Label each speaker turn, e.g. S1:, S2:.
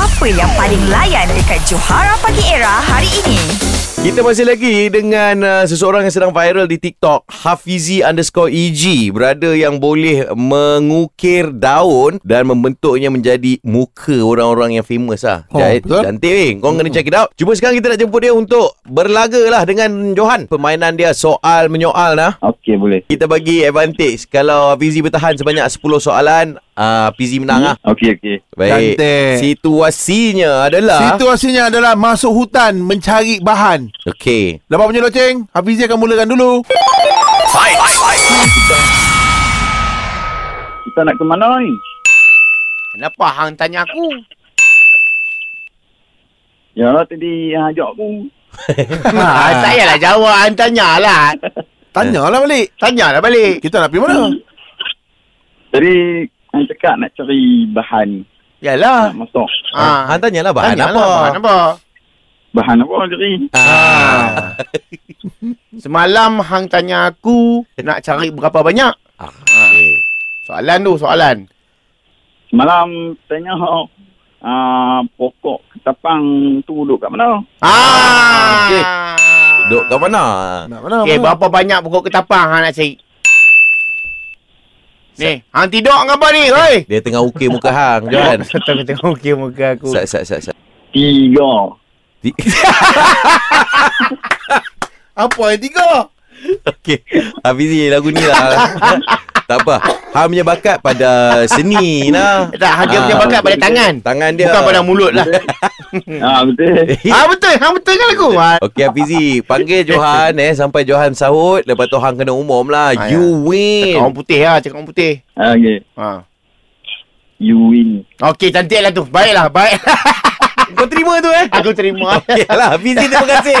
S1: Apa yang paling layan dekat Johara Pagi Era hari ini?
S2: Kita masih lagi dengan uh, seseorang yang sedang viral di TikTok Hafizi underscore EG Berada yang boleh mengukir daun Dan membentuknya menjadi muka orang-orang yang famous lah
S3: Oh,
S2: Jahit,
S3: betul.
S2: Cantik weh Kau kena check it out Cuma sekarang kita nak jemput dia untuk berlaga lah dengan Johan Permainan dia soal menyoal lah
S4: Okey boleh.
S2: Kita bagi advantage Kalau Hafizi bertahan sebanyak 10 soalan uh, Hafizi
S5: ah.
S2: menang lah
S4: Okey okey.
S2: Baik
S3: Cantik.
S2: Situasinya
S5: Ah.
S2: adalah
S3: Situasinya adalah masuk hutan mencari bahan.
S2: Okey
S3: Dapat punya loceng? Hafizie akan mulakan dulu.
S4: Kita nak ke mana ni?
S5: Kenapa hang tanya aku?
S4: Ya lah tadi yang ajak aku.
S5: Ah, tak payahlah jawab. Hang tanyalah.
S3: Tanyalah balik.
S5: Tanyalah balik.
S3: Kita nak pergi mana?
S4: Tadi hang cakap nak cari bahan
S5: Yalah.
S4: nak masuk.
S2: Ah,
S5: kan
S2: hang tanyalah bahan
S5: Tanyalah,
S2: apa?
S5: lah Bahan apa?
S4: Bahan apa cari?
S5: Ah. Semalam hang tanya aku nak cari berapa banyak.
S2: Ah, okey.
S5: Soalan tu soalan.
S4: Semalam tanya ah pokok ketapang tu duduk kat mana?
S5: Ah.
S2: Okey.
S5: Okey.
S2: Duduk kat mana?
S3: Nak mana?
S5: Okey,
S3: mana?
S5: berapa banyak pokok ketapang hang nak cari? Ni, hang tidur ke apa ni? Oi.
S2: Dia tengah ukir muka hang Johan.
S5: Tengok tengok okey muka aku.
S2: Sat sat sat sat.
S4: Tiga.
S2: Di-
S3: Apa yang tiga?
S2: Okey. Hafizi lagu ni lah. tak apa. Hang punya bakat pada seni nah.
S5: Tak, hang dia punya
S2: Ah,
S5: bakat pada tangan.
S2: Tangan dia.
S5: Bukan pada mulut lah.
S4: ah betul.
S5: ah betul, hang betul kan aku? Ah,
S2: Okey Hafizi, panggil Johan eh sampai Johan sahut, lepas tu hang kena umum lah.
S5: Ah,
S2: you
S5: Cakap
S2: win.
S5: orang putih lah, cakap orang putih.
S4: Ah, Okey.
S5: Ha.
S4: You win.
S5: Okey, cantik lah tu. Baiklah, baik.
S2: Kau terima tu eh?
S5: Aku terima.
S2: Yalah, lah, Hafizi terima kasih.